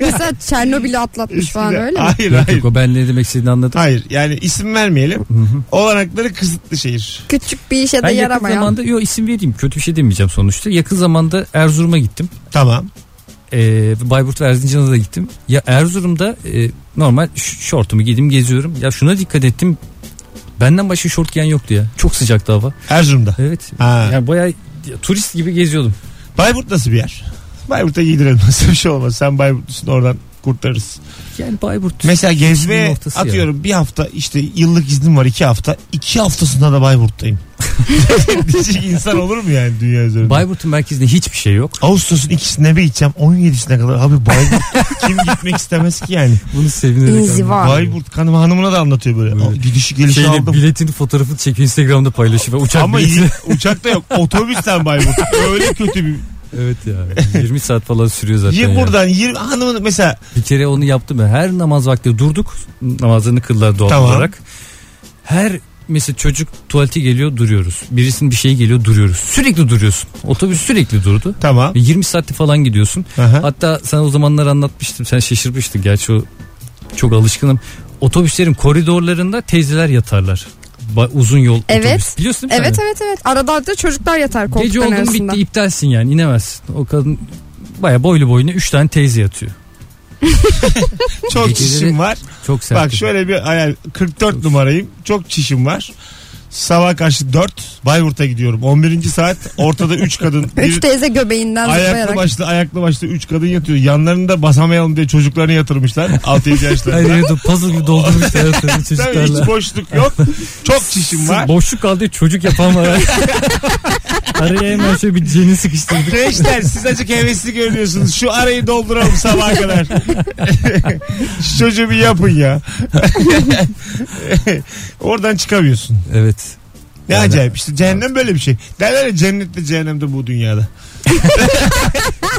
Mesela Çernobil'i atlatmış falan
Eskiden-
öyle mi?
Hayır
yok
hayır.
yok o ben ne demek istediğini anladım.
Hayır yani isim vermeyelim. Olanakları kısıtlı şehir.
Küçük bir işe
Ben
de
yakın
yaramayan.
zamanda yok isim vereyim kötü bir şey demeyeceğim sonuçta. Yakın zamanda Erzurum'a gittim.
Tamam.
Ee, Bayburt ve Erzincan'a da gittim. Ya Erzurum'da e, normal ş- şortumu giydim geziyorum. Ya şuna dikkat ettim. Benden başka şort giyen yoktu ya. Çok sıcaktı hava.
Erzurum'da.
Evet.
Ha.
Yani bayağı ya, turist gibi geziyordum.
Bayburt nasıl bir yer? Bayburt'a giydirelim nasıl bir şey olmaz. Sen Bayburtlusun oradan kurtarırız.
Yani Bayburt.
Mesela
İzmir'in
gezmeye
ortası ya.
atıyorum bir hafta işte yıllık iznim var iki hafta. iki haftasında da Bayburt'tayım. Diyecek insan olur mu yani dünya üzerinde?
Bayburt'un merkezinde hiçbir şey yok.
Ağustos'un ikisine bir gideceğim 17'sine kadar abi Bayburt kim gitmek istemez ki yani.
Bunu sevinerek
İnziva.
anladım.
Abi.
Bayburt kanım hanımına da anlatıyor böyle.
Böyle.
Aa, Gidişi gelişi
Şeyle
aldım.
biletin fotoğrafını çekiyor Instagram'da paylaşıyor. Ben Uçak
Şey Ama
bileti.
iyi, uçakta yok otobüsten Bayburt. Öyle kötü bir.
evet ya. 20 saat falan sürüyor zaten.
Ye
ya.
buradan yir, hanımın mesela
Bir kere onu yaptım ben. Her namaz vakti durduk. Namazını kıldılar doğal
Tamam.
olarak. Her mesela çocuk tuvalete geliyor duruyoruz. Birisinin bir şeyi geliyor duruyoruz. Sürekli duruyorsun. Otobüs sürekli durdu.
tamam.
Ve 20 saatte falan gidiyorsun.
Aha.
Hatta sana o zamanlar anlatmıştım. Sen şaşırmıştın. Gerçi o çok alışkınım. Otobüslerin koridorlarında teyzeler yatarlar. Ba- uzun yol
Evet.
otobüs. Biliyorsun değil mi
Evet
sen de?
evet evet. Arada da çocuklar yatar
Gece
koltukların
oldu mu
arasında.
bitti iptalsin yani inemezsin. O kadın baya boylu boyuna 3 tane teyze yatıyor.
Çok
Geceleri-
çişim var.
Çok sert.
Bak şöyle bir hayal 44 numarayım. Çok çişim var. Sabah karşı 4 Bayburt'a gidiyorum. 11. saat ortada 3 kadın.
Üç
Bir
teyze göbeğinden
ayaklı
zıplayarak.
başlı ayaklı başlı 3 kadın yatıyor. Yanlarında basamayalım diye çocuklarını yatırmışlar. 6-7
Her
yaşlarında.
yeri de puzzle gibi doldurmuşlar hayatlarını
Tabii hiç
çocuklarla.
boşluk yok. Çok çişim var.
Boşluk kaldı çocuk yapan var. Araya hemen şöyle bir ceni sıkıştırdık.
Gençler siz acık hevesli görünüyorsunuz. Şu arayı dolduralım sabaha kadar. Şu çocuğu bir yapın ya. Oradan çıkamıyorsun.
Evet.
Ne
Yani-
acayip işte cehennem böyle bir şey. Derler ya cennette cehennemde bu dünyada.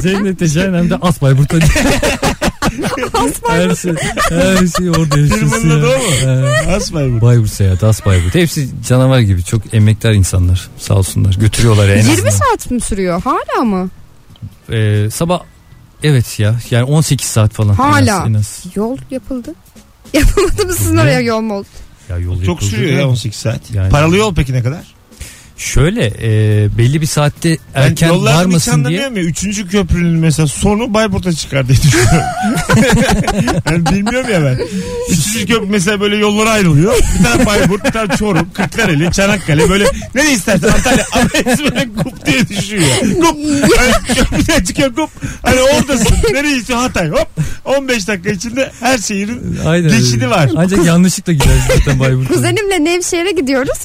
Zeynep de cehennemde as Bayburt'ta. her şey, her şey orada yaşıyorsun
Firmanın adı
ya.
o mu?
Evet.
Asmay bu.
Bayburt seyahat as Bayburt. Hepsi canavar gibi çok emektar insanlar sağ olsunlar. Götürüyorlar ya en
20
azından.
saat mi sürüyor? Hala mı?
Ee, sabah evet ya yani 18 saat falan. En
Hala.
az, en az.
Yol yapıldı. Yapılmadı mı sizin oraya yol mu oldu?
Ya yol
Çok
yapıldı
sürüyor
diyor.
ya 18 saat.
Yani-
Paralı yol peki ne kadar?
Şöyle e, belli bir saatte erken
yollarda
varmasın diye.
nişanlanıyorum ya. Üçüncü köprünün mesela sonu Bayburt'a çıkar diye düşünüyorum. yani bilmiyorum ya ben. Üçüncü köprü mesela böyle yollara ayrılıyor. Bir taraf Bayburt, bir taraf Çorum, Kırklareli, Çanakkale böyle ne de istersen Antalya. Ama hepsi böyle gup diye düşüyor. Gup. Hani köprüden çıkıyor gup. Hani oradasın. Nereye istiyor Hatay. Hop. 15 dakika içinde her şehrin
Aynen.
geçidi var.
Ancak yanlışlıkla girersin zaten Bayburt'a.
Kuzenimle Nevşehir'e gidiyoruz.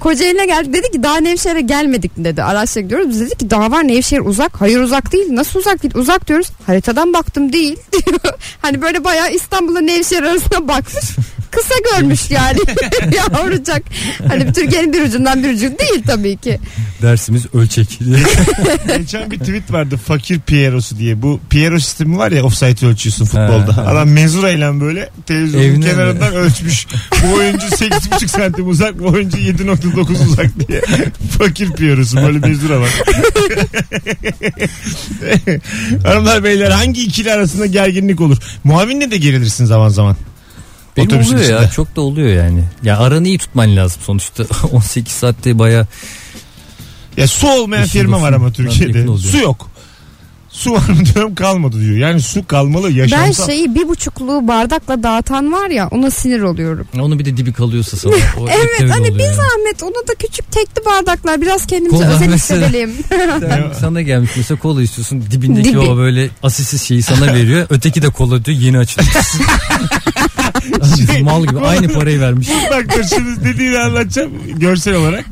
Kocaeli'ne geldi dedi ki daha Nevşehir'e gelmedik dedi. Araçla gidiyoruz. Biz dedik ki daha var Nevşehir uzak. Hayır uzak değil. Nasıl uzak değil? Uzak diyoruz. Haritadan baktım değil diyor. Hani böyle bayağı İstanbul'la Nevşehir arasına bakmış. Kısa görmüş yani yavrucak. Hani Türkiye'nin bir ucundan bir ucu değil tabii ki.
Dersimiz ölçek.
Geçen bir tweet vardı fakir Piero'su diye. Bu Piero sistemi var ya offside ölçüyorsun futbolda.
Ha, ha.
Adam mezurayla böyle televizyonun
Evine mi?
kenarından ölçmüş. Bu oyuncu 8,5 santim uzak bu oyuncu 7,9 uzak diye. fakir Piero'su böyle mezura var. Hanımlar beyler hangi ikili arasında gerginlik olur? Muavinle de gerilirsin zaman zaman.
Benim
Otobüsün
oluyor ya
içinde.
çok da oluyor yani. Ya aranı iyi tutman lazım sonuçta 18 saatte baya
Ya su olmayan
İşin
firma var
olsun.
ama
Tabii,
Türkiye'de.
oluyor.
Su yok. Su var mı diyorum kalmadı diyor. Yani su kalmalı
Ben şey-
yaşamsal.
şeyi bir buçukluğu bardakla dağıtan var ya ona sinir oluyorum.
onu bir de dibi kalıyorsa sana. O
Evet
öyle
hani
oluyor
bir
yani.
zahmet ona da küçük tekli bardaklar biraz kendimize
Kola
özel
mesela.
hissedelim.
Sen- sana gelmiş mesela kola istiyorsun dibindeki
Dibi.
o böyle asisiz şeyi sana veriyor. Öteki de kola diyor yeni açılmış. Mal gibi aynı parayı vermiş.
Bak dur şimdi dediğini anlatacağım görsel olarak.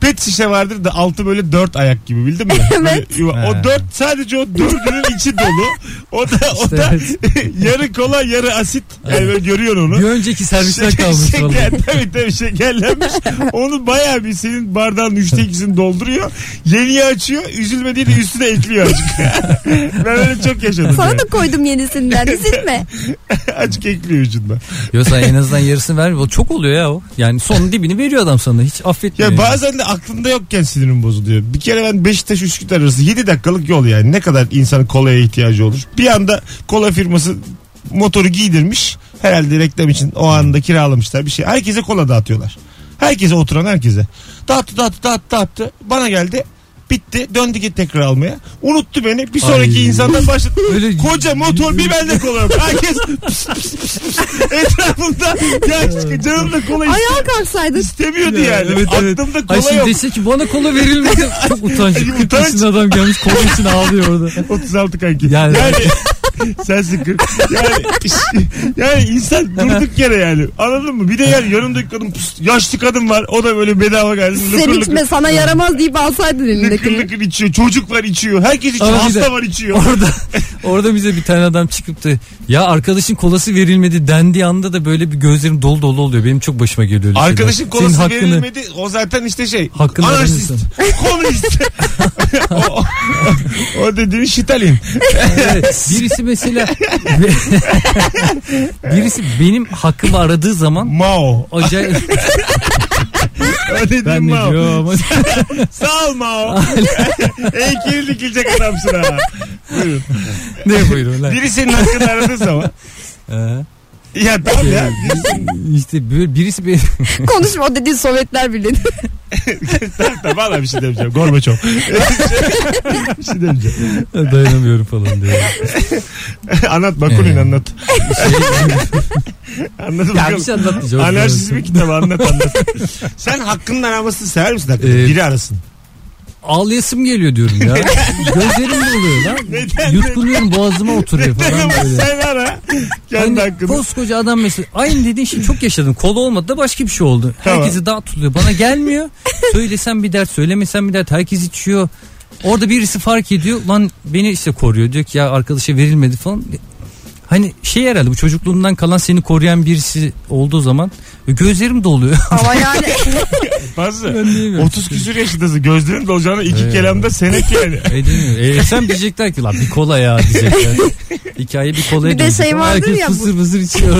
Pet şişe vardır da altı böyle dört ayak gibi bildin mi? Böyle yuva.
Ha.
O dört sadece o dördünün içi dolu. O da o
İşte
da
evet.
yarı kola yarı asit. Yani böyle görüyorsun onu.
Bir önceki servisten
Şeker-
kalmış
şeker,
vallahi.
tabii tabii şekerlenmiş. Onu bayağı bir senin bardağın üçte ikisini dolduruyor. Yeniyi açıyor. Üzülme diye de üstüne ekliyor azıcık. ben öyle çok yaşadım.
Sana da koydum yenisinden üzülme.
Açık ekliyor ucundan.
Yo sen en azından yarısını vermiyor. Çok oluyor ya o. Yani son dibini veriyor adam sana. Hiç affetmiyor.
Ya
yani.
bazen de aklında yokken sinirim bozuluyor. Bir kere ben Beşiktaş Üsküdar arası 7 dakikalık yol yani. Ne kadar insanın kolaya ihtiyacı olur. Bir anda kola firması motoru giydirmiş. Herhalde reklam için o anda kiralamışlar bir şey. Herkese kola dağıtıyorlar. Herkese oturan herkese. Dağıttı dağıttı dağıttı dağıttı. Bana geldi. Bitti. Döndü git tekrar almaya. Unuttu beni. Bir sonraki
Ay.
insandan başladı.
Böyle-
Koca motor bir bende kola. yok. Herkes pıs pıs pıs pıs. etrafımda ya canım da kola istiyor.
Ayağa kalksaydın.
İstemiyordu yani.
Evet, evet.
Aklımda
Ay
kola
şimdi
yok.
dese ki bana kola verilmedi. Çok utanç.
Ay,
40
utanç.
yaşında adam gelmiş kola için ağlıyor orada.
36 kanki. Yani,
Yani-
sensin 40. Yani, yani insan durduk yere yani. Anladın mı? Bir de yani yanımdaki kadın pus, yaşlı kadın var. O da böyle bedava geldi.
Sen içme sana yaramaz deyip alsaydın
Lıkır
elindekini.
lıkır içiyor. Çocuk var içiyor. Herkes içiyor.
Ama bir
Hasta
de-
var içiyor.
Orada orada bize bir tane adam çıkıp da ya arkadaşın kolası verilmedi dendiği anda da böyle bir gözlerim dolu dolu oluyor. Benim çok başıma geliyor öyle şeyler.
Arkadaşın
Senin
kolası verilmedi. O zaten işte şey.
Hakkını veren
anarşist. Komünist. o, o, o dediğin Şitalin.
Evet, birisi mesela birisi benim hakkımı aradığı zaman
Mao.
acayip
O dediğin
ben ne
Mao.
diyorum
Sağ ol Mao. Heykeli dikilecek adamsın ha. Buyurun.
ne buyurun lan.
Biri senin hakkını aradığı zaman.
Ee,
Ya tamam ya.
işte böyle birisi bir
Konuşma o dediğin Sovyetler Birliği.
tamam tamam valla bir şey demeyeceğim. Gorbaçov. bir şey demeyeceğim.
dayanamıyorum falan diyor.
anlat Bakunin
Ee.
anlat. Anlat
Ya bir
bakalım.
şey anlatmayacağım.
Anarşist bir kitabı anlat anlat. Sen hakkının aramasını sever misin hakikaten?
Ee,
Biri arasın.
Ağlayasım geliyor diyorum ya. Gözlerim doluyor lan.
Neden?
Yutkunuyorum boğazıma oturuyor falan
Ama
böyle.
sen ara. Kendi
Hani
hakkını.
koskoca adam mesela aynı dediğin şeyi çok yaşadım. Kolu olmadı da başka bir şey oldu.
Tamam.
Herkesi dağıtılıyor. Bana gelmiyor. Söylesem bir dert, söylemesem bir dert. Herkes içiyor. Orada birisi fark ediyor. Lan beni işte koruyor. Diyor ki ya arkadaşa verilmedi falan. Hani şey herhalde bu çocukluğundan kalan seni koruyan birisi olduğu zaman gözlerim doluyor.
Ama yani
Fazla.
Ben diyemiyorum.
30 küsür yaşındasın. Gözlerin dolacağına iki
Ee.
kelamda senek yani.
Edemiyor. E, sen diyecekler ki lan bir kola ya diyecekler. Hikaye bir kolaya
Bir de
dönecek
şey
ama
vardır
herkes
ya bu-
fısır fısır içiyor.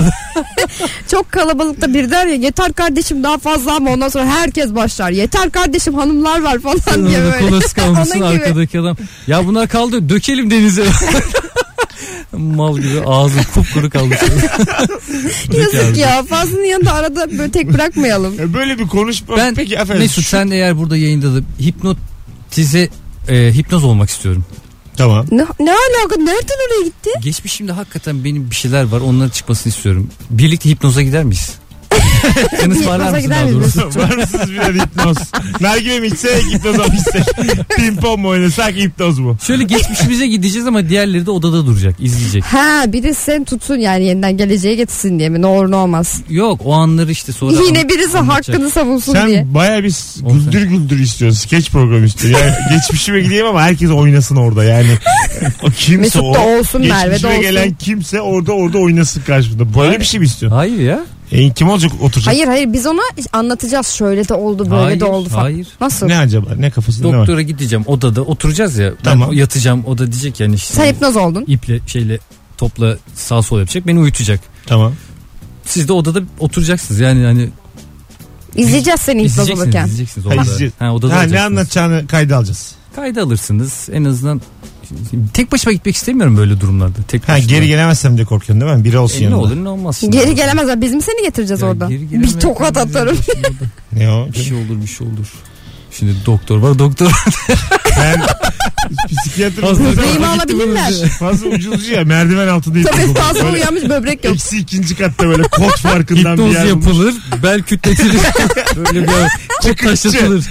çok kalabalıkta bir der ya yeter kardeşim daha fazla ama ondan sonra herkes başlar. Yeter kardeşim hanımlar var falan diye
Orada
böyle.
kolası kalmışsın
Onun gibi.
arkadaki adam. Ya bunlar kaldı dökelim denize. Mal gibi ağzım kupkuru kalmış.
Yazık ya. Fazlının yanında arada böyle tek bırakmayalım.
E, Böyle bir konuşma.
Ben
Peki efendim.
Mesut
şu-
sen eğer burada yayında da hipnotize e, hipnoz olmak istiyorum.
Tamam.
Ne, ne alaka? Nereden oraya gitti?
Geçmişimde hakikaten benim bir şeyler var. Onların çıkmasını istiyorum. Birlikte hipnoza gider miyiz? Sen ısmarlar
Hipnoza
mısın
gider
daha
miyiz?
doğrusu?
Var mısınız birer hipnoz? Nargile mi içsek hipnoz mu içsek? Ping pong mu oynasak hipnoz mu?
Şöyle geçmişimize gideceğiz ama diğerleri de odada duracak, izleyecek.
Ha biri sen tutsun yani yeniden geleceğe getirsin diye mi? Ne olur ne olmaz.
Yok o anları işte sonra
Yine birisi
anlatacak.
hakkını savunsun diye.
Sen baya bir s-
On
güldür güldür istiyorsun. Skeç programı istiyorsun. Yani geçmişime gideyim ama herkes oynasın orada yani. O kimse
Mesut
o.
da olsun, Merve de
geçmişime
olsun.
gelen kimse orada orada oynasın karşımda. Böyle bir şey mi istiyorsun?
Hayır ya.
E, kim olacak oturacak?
Hayır hayır biz ona anlatacağız şöyle de oldu böyle
hayır,
de oldu falan.
Hayır.
Nasıl?
Ne acaba? Ne kafasında ne var?
Doktora gideceğim odada oturacağız ya.
Tamam.
Ben yatacağım o da diyecek yani işte.
Sen hipnoz oldun.
iple şeyle topla sağ sol yapacak beni uyutacak.
Tamam.
Siz de odada oturacaksınız yani hani
İzleyeceğiz seni hipnoz
izleyeceksiniz,
olurken.
izleyeceksiniz
Ha,
odada.
izleyeceğiz.
Ha, odada
Ha, ne
olacaksınız.
anlatacağını kayda alacağız.
Kayda alırsınız en azından tek başıma gitmek istemiyorum böyle durumlarda. Tek
Ha,
başıma.
geri gelemezsem diye korkuyorsun değil mi? Biri olsun
E, ne
yanında.
olur ne olmaz. şimdi.
Geri gelemezler. Biz mi seni getireceğiz
Ya
orada?
geri gelemez-
Bir tokat atarım.
Ne o?
Bir şey olur bir şey olur. Şimdi doktor var doktor.
Ben psikiyatr
Fazla-
Böbreğimi alabilirler.
Fazla ucuzcu ya merdiven altındayım.
Tabii fazla uyanmış böbrek yok.
Eksi ikinci katta böyle kod farkından bir
Hipnoz
yer bulmuş.
yapılır bel kütletilir. böyle bir kod
Çıkınca.
taşlatılır.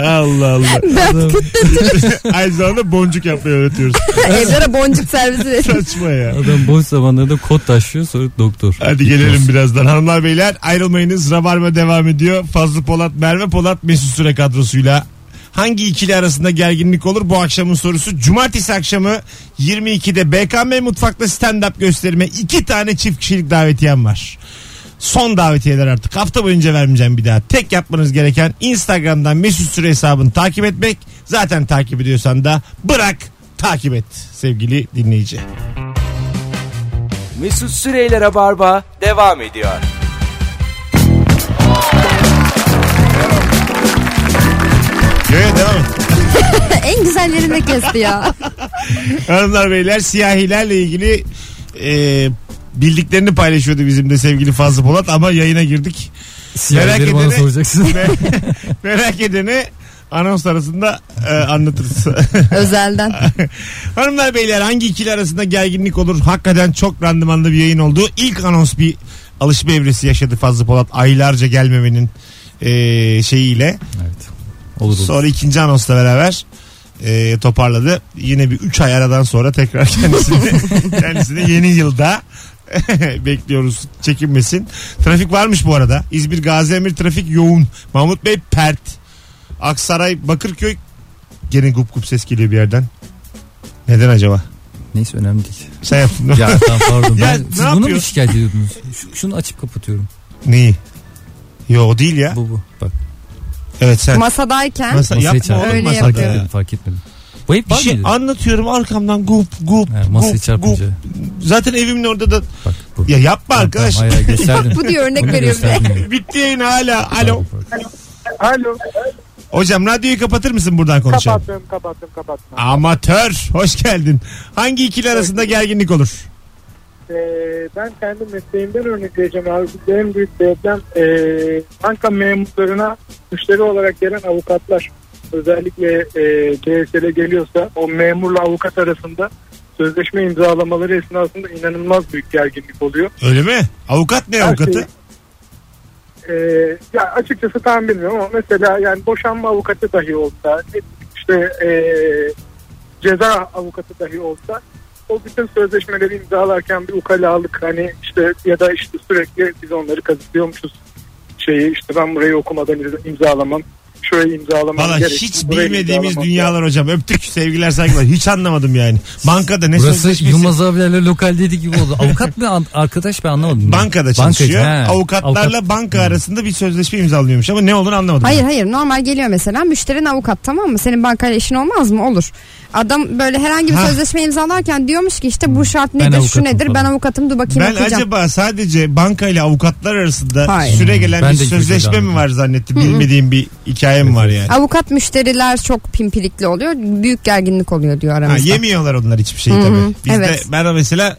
Allah Allah.
Ben
Aynı zamanda boncuk yapmayı öğretiyoruz.
evlere boncuk servisi veririm.
Saçma ya.
Adam boş zamanlarda kod taşıyor sonra doktor.
Hadi gelelim birazdan. Hanımlar beyler ayrılmayınız. Rabarba devam ediyor. Fazlı Polat, Merve Polat, Mesut Süre kadrosuyla. Hangi ikili arasında gerginlik olur bu akşamın sorusu. Cumartesi akşamı 22'de BKM Mutfak'ta stand-up gösterime iki tane çift kişilik davetiyem var. Son davetiyeler artık. Hafta boyunca vermeyeceğim bir daha. Tek yapmanız gereken Instagram'dan Mesut Süre hesabını takip etmek. Zaten takip ediyorsan da bırak takip et sevgili dinleyici.
Mesut Süreyler'e barba devam ediyor.
Yo, yo, devam et.
en güzellerini kesti ya.
Hanımlar beyler siyahilerle ilgili e, bildiklerini paylaşıyordu bizim de sevgili Fazlı Polat ama yayına girdik.
Siyahları bana
edene-
soracaksın.
Ve- merak edene anons arasında e, anlatırız.
Özelden.
Hanımlar beyler hangi ikili arasında gerginlik olur? Hakikaten çok randımanlı bir yayın oldu. İlk anons bir alışma evresi yaşadı Fazlı Polat aylarca gelmemenin e, şeyiyle.
Evet. Olur olur.
Sonra ikinci anonsla beraber e, toparladı. Yine bir 3 ay aradan sonra tekrar kendisini kendisini yeni yılda bekliyoruz. Çekinmesin. Trafik varmış bu arada. İzmir Gazi Emir trafik yoğun. Mahmut Bey pert. Aksaray Bakırköy gene gup gup ses geliyor bir yerden. Neden acaba?
Neyse önemli değil.
Sen yaptın. değil mi?
Ya tamam pardon.
Ya,
Ben,
ne
siz bunu
yapıyorsun?
mu şikayet ediyordunuz? Şu- şunu açıp kapatıyorum.
Neyi? Yo o değil ya.
Bu bu. Bak.
Evet sen.
Masadayken
Masa,
Masaya
yapma
çarptım.
oğlum
Öyle
masada
Fark
yapıyor.
ya.
etmedim fark etmedim. Bu hep
Bir
var
şey
mıydı?
anlatıyorum arkamdan gup gup
He, masaya
gup,
çarpınca.
gup. Zaten evimin orada da
Bak bu.
Ya yapma arkadaş.
Tamam, hayır, hayır, gösterdim.
"Ah, bu diye örnek
Bunu
veriyor bize.
gösterdim ya.
Bitti yayın hala. Alo.
Pardon, pardon.
Alo.
Hocam radyoyu kapatır mısın buradan konuşalım?
Kapattım kapattım kapattım.
Amatör. Hoş geldin. Hangi ikili arasında gerginlik olur?
Ee, ben kendi mesleğimden örnek vereceğim abi. Benim büyük deprem ee, banka memurlarına müşteri olarak gelen avukatlar. Özellikle ee, CSL geliyorsa o memurla avukat arasında sözleşme imzalamaları esnasında inanılmaz büyük gerginlik oluyor.
Öyle mi? Avukat ne
Her şey
avukatı?
şeyi- Ee, ya açıkçası tam bilmiyorum ama mesela yani boşanma avukatı dahi olsa ne bileyim işte ee, ceza avukatı dahi olsa o bütün sözleşmeleri imzalarken bir ukalalık hani işte ya da işte sürekli biz onları kazıklıyormuşuz şeyi işte ben burayı okumadan imza- imzalamam şurayı imzalamam
Valla
gerek,
hiç
burayı
bilmediğimiz
imzalamam
dünyalar hocam. Öptük sevgiler saygılar. Hiç anlamadım yani. Bankada ne
Burası
sözleşmesi?
Yılmaz abilerle lokal dedi gibi oldu. Avukat mı an- arkadaş ben anlamadım.
Bankada
Bankacı,
çalışıyor.
he.
Avukatlarla
Avukat-
banka arasında bir sözleşme imzalıyormuş ama ne olduğunu anlamadım.
Hayır
ben.
hayır normal geliyor mesela müşterin avukat tamam mı? Senin bankayla işin olmaz mı? Olur. Adam böyle herhangi bir
Ha.
sözleşme imzalarken diyormuş ki işte bu şart
Ben
nedir şu
avukatım
nedir ben
falan.
avukatım dur bakayım
Ben
okuyacağım.
acaba sadece banka ile avukatlar arasında
Hayır.
süre gelen
Ben
bir
de şey hiç
sözleşme
öyle
mi var zannettim. Bilmediğim bir hikaye mi var yani?
Avukat müşteriler çok pimpirikli oluyor. Büyük gerginlik oluyor diyor
Ha,
aramızda.
yemiyorlar onlar hiçbir şeyi
Hı hı,
tabii. Bizde
evet.
ben mesela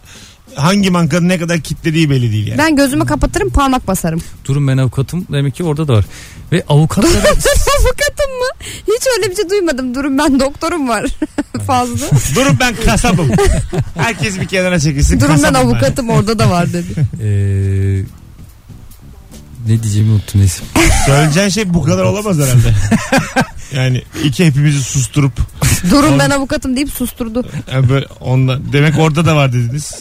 hangi bankanın ne kadar kitlediği belli değil yani.
ben gözümü kapatırım parmak basarım.
Durun ben avukatım demek ki orada da var. Ve avukatlara
Avukatım mı? Hiç öyle bir şey duymadım. Durun ben doktorum var. Fazla.
Durun ben kasabım. Herkes bir kenara çekilsin.
Durun ben
kasabım
avukatım orada da var dedi.
Eee, Ee, ne diyeceğimi unuttum neyse.
Söyleyeceğin şey bu kadar olamaz herhalde. yani iki hepimizi susturup
Durun ben avukatım deyip susturdu.
yani böyle onunla, demek orada da var dediniz.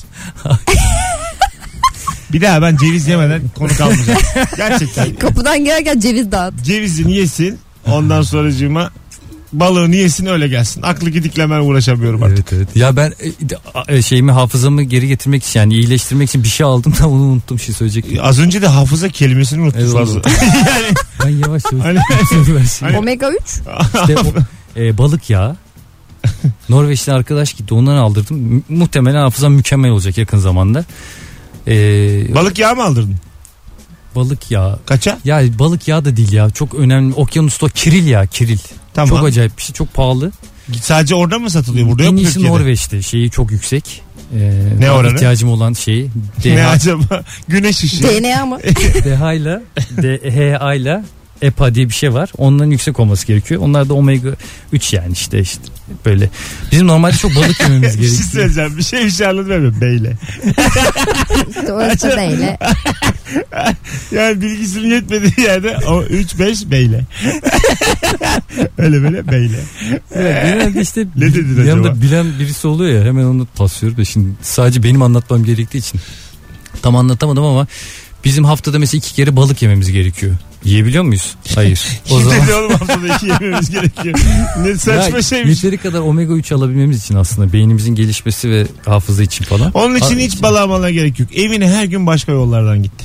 bir daha ben ceviz yemeden konu kalmayacak. Gerçekten.
Kapıdan girerken ceviz dağıt.
Cevizini yesin ondan sonracığıma balığını yesin öyle gelsin. Aklı gidiklemen uğraşamıyorum artık.
Evet evet. Ya ben e, de- a- e, şeyimi hafızamı geri getirmek için yani iyileştirmek için bir şey aldım da onu unuttum şey söyleyecek.
Az önce de hafıza kelimesini unuttum
Evet,
fazla.
oldu.
yani
Ben yavaş yavaş
hani
söylüyorum şimdi.
Hani-
Omega 3.
İşte o- e, balık yağı. Norveçli arkadaş gitti ondan aldırdım. Mu- Muhtemelen hafızam mükemmel olacak yakın zamanda. E,
balık yağı mı aldırdın?
balık yağı.
Kaça?
Ya balık yağı da değil ya. Çok önemli. Okyanusta kiril ya kiril.
Tamam.
Çok acayip bir şey. Çok pahalı.
Sadece orada mı satılıyor? Burada yok
en
mu
iyisi
Türkiye'de?
Norveç'ti. Şeyi çok yüksek. Ee,
Ne oranı?
İhtiyacım olan şeyi.
Ne
DH,
acaba? Güneş ışığı.
DNA mı?
DHA ile DHA ile EPA diye bir şey var. Onların yüksek olması gerekiyor. Onlar da omega 3 yani işte işte böyle. Bizim normalde çok balık yememiz
bir şey
gerekiyor.
söyleyeceğim. Bir şey bir şey anlatmıyorum beyle.
Orası da öyle.
Yani bilgisinin yetmediği yerde o 3-5 beyle. Öyle böyle beyle.
Evet, genelde işte
Ne dedin
bir
acaba?
yanında bilen birisi oluyor ya hemen onu paslıyorum da şimdi sadece benim anlatmam gerektiği için tam anlatamadım ama bizim haftada mesela iki kere balık yememiz gerekiyor. Yiyebiliyor muyuz? Hayır.
Kim dedi oğlum haftada iki yememiz gerekiyor. Ne saçma
Ya,
şeymiş.
Yeteri kadar omega 3 alabilmemiz için aslında beynimizin gelişmesi ve hafıza için falan.
Onun için
Aa,
hiç balığa malına gerek yok. Evine her gün başka yollardan gitti.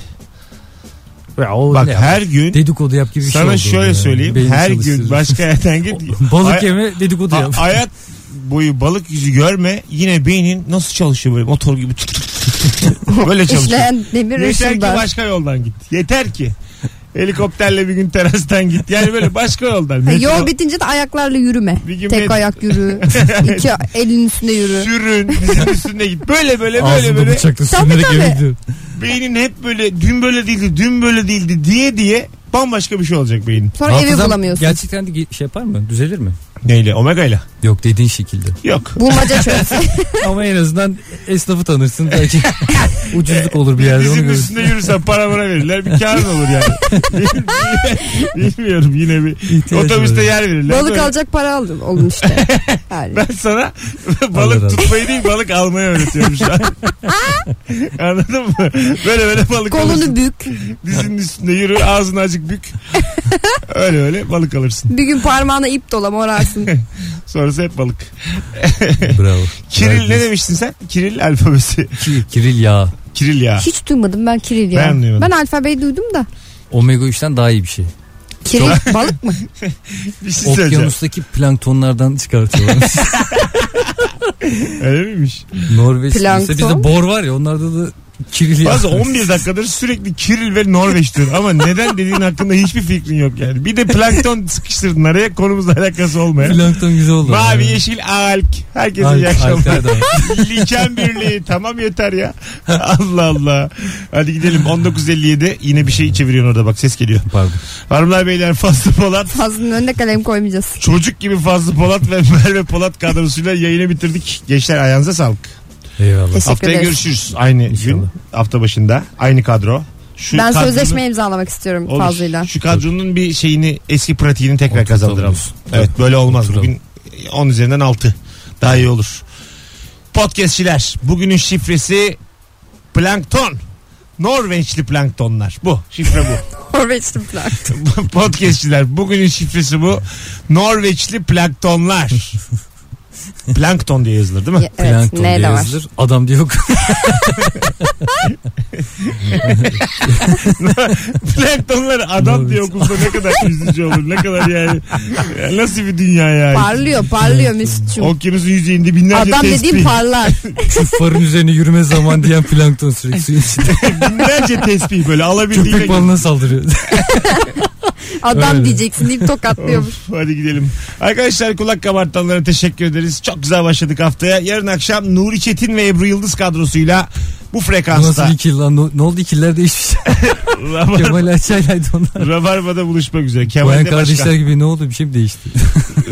Ya, o
Bak
ne ya?
her gün
dedikodu yap gibi bir şey
sana
oldu
şöyle
yani.
söyleyeyim.
Beyni
her gün
çalıştırır.
başka yerden git.
balık
Ay-
yeme dedikodu
Ha-
yap.
hayat boyu balık yüzü görme yine beynin nasıl çalışıyor böyle motor gibi tut tut tut tut. böyle çalışıyor.
İşleyen demir
Yeter ki
ışıldar.
başka yoldan git. Yeter ki. Helikopterle bir gün terastan git. Yani böyle başka yoldan.
Ha,
Metro-
Yol bitince de ayaklarla yürüme.
Bir gün
Tek
met-
ayak yürü. İki elin üstünde yürü.
Sürün dizinin üstüne git. Böyle böyle böyle
Ağzında
böyle.
bıçakla
Tabii,
sürünerek
tabii.
eve gidiyor.
Beynin hep böyle dün böyle değildi dün böyle değildi diye diye bambaşka bir şey olacak beynin.
Sonra evi
Hafızam
bulamıyorsun.
Gerçekten de ge- şey yapar mı? Düzelir mi?
Neyle? Omega ile.
Yok dediğin şekilde.
Yok.
Bulmaca çözse.
Ama en azından esnafı tanırsın. Belki ucuzluk olur bir yerde onu
Dizinin
görürsün.
üstünde yürürsen para bana verirler. Bir kârın olur yani. Bilmiyorum yine bir.
İhtiyacı
Otobüste
var.
yer verirler.
Balık
Böyle-
alacak para aldın oğlum işte. Yani.
Ben sana
Alır,
balık
alır.
tutmayı değil balık almayı öğretiyorum şu an. Anladın mı? Böyle böyle balık alırsın.
Kolunu bük.
Dizinin üstünde yürü ağzını azıcık bük. öyle öyle balık alırsın.
Bir gün parmağına ip dola morarsın.
Sonrası hep balık.
Bravo.
Kiril ne
Bravo.
demiştin sen? Kiril alfabesi.
Ki- Kiril yağı.
Kiril ya.
Hiç duymadım ben kiril ya.
Ben duymadım.
Ben alfabeyi duydum da.
Omega 3'ten daha iyi bir şey.
Kiril balık mı?
Bir şey söyleyeceğim.
Okyanustaki planktonlardan çıkartıyorlar.
Öyle miymiş?
Norveç.
Plankton.
Mesela bizde bor var ya onlarda da kiril yağı.
Bazı 11 dakikadır sürekli Kiril ve Norveç diyor. Ama neden dediğin hakkında hiçbir fikrin yok yani. Bir de plankton sıkıştırdın araya konumuzla alakası olmayan.
Plankton güzel oldu.
Mavi yeşil alk. Herkese iyi akşamlar. Liken birliği tamam yeter ya. Allah Allah. Hadi gidelim 1957 yine bir şey çeviriyorsun orada bak ses geliyor.
Pardon.
Hanımlar beyler Fazlı Polat.
Fazlının önüne kalem koymayacağız.
Çocuk gibi Fazlı Polat ve Merve Polat kadrosuyla yayını bitirdik. Gençler ayağınıza sağlık.
Eyvallah.
Teşekkür
Haftaya
ederiz.
görüşürüz. Aynı
İnşallah.
gün hafta başında aynı kadro. Şu
Ben
kadronun-
sözleşme imzalamak istiyorum
Olur.
fazlıyla.
Şu kadronun bir şeyini eski pratiğini tekrar
Oturtalım.
kazandıralım. Evet böyle olmaz.
Oturalım.
Bugün 10 üzerinden 6. Daha iyi olur. Podcastçiler bugünün şifresi plankton. Norveçli planktonlar. Bu şifre bu.
Norveçli plak.
Podcastçiler bugünün şifresi bu. Norveçli planktonlar. Plankton diye yazılır değil mi?
Ya, evet
Plankton
ne
diye
de var.
yazılır. Adam diye yok.
Planktonlar adam diye okulda ne kadar yüzücü olur. Ne kadar yani. Ya Nasıl bir dünya ya.
Parlıyor parlıyor Mesut'cum.
Okyanusun yüzeyinde binlerce
Adam
tespih.
dediğim parlar.
Şu farın üzerine yürüme zaman diyen plankton sürekli suyun içinde.
binlerce tespih böyle alabildiğine.
Köpek balığına saldırıyor.
Adam
Öyle.
diyeceksin deyip tokatlıyormuş.
Of, hadi gidelim. Arkadaşlar kulak kabartanlara teşekkür ederiz. Çok güzel başladık haftaya. Yarın akşam Nuri Çetin ve Ebru Yıldız kadrosuyla bu
Bu
frekansta
Nasıl iki yıl lan? Ne- Ne oldu ikiller değişmiş.
Rabar-
Kemal Ayça'ylaydı onlar.
Rabarba'da buluşmak üzere. Kemal
Bayan
de başka.
kardeşler gibi ne oldu bir şey mi değişti?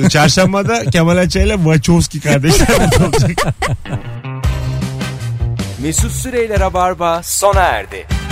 Çarşamba'da Kemal Ayça ile Wachowski kardeşler burada olacak.
Mesut Süreyler'e barba sona erdi.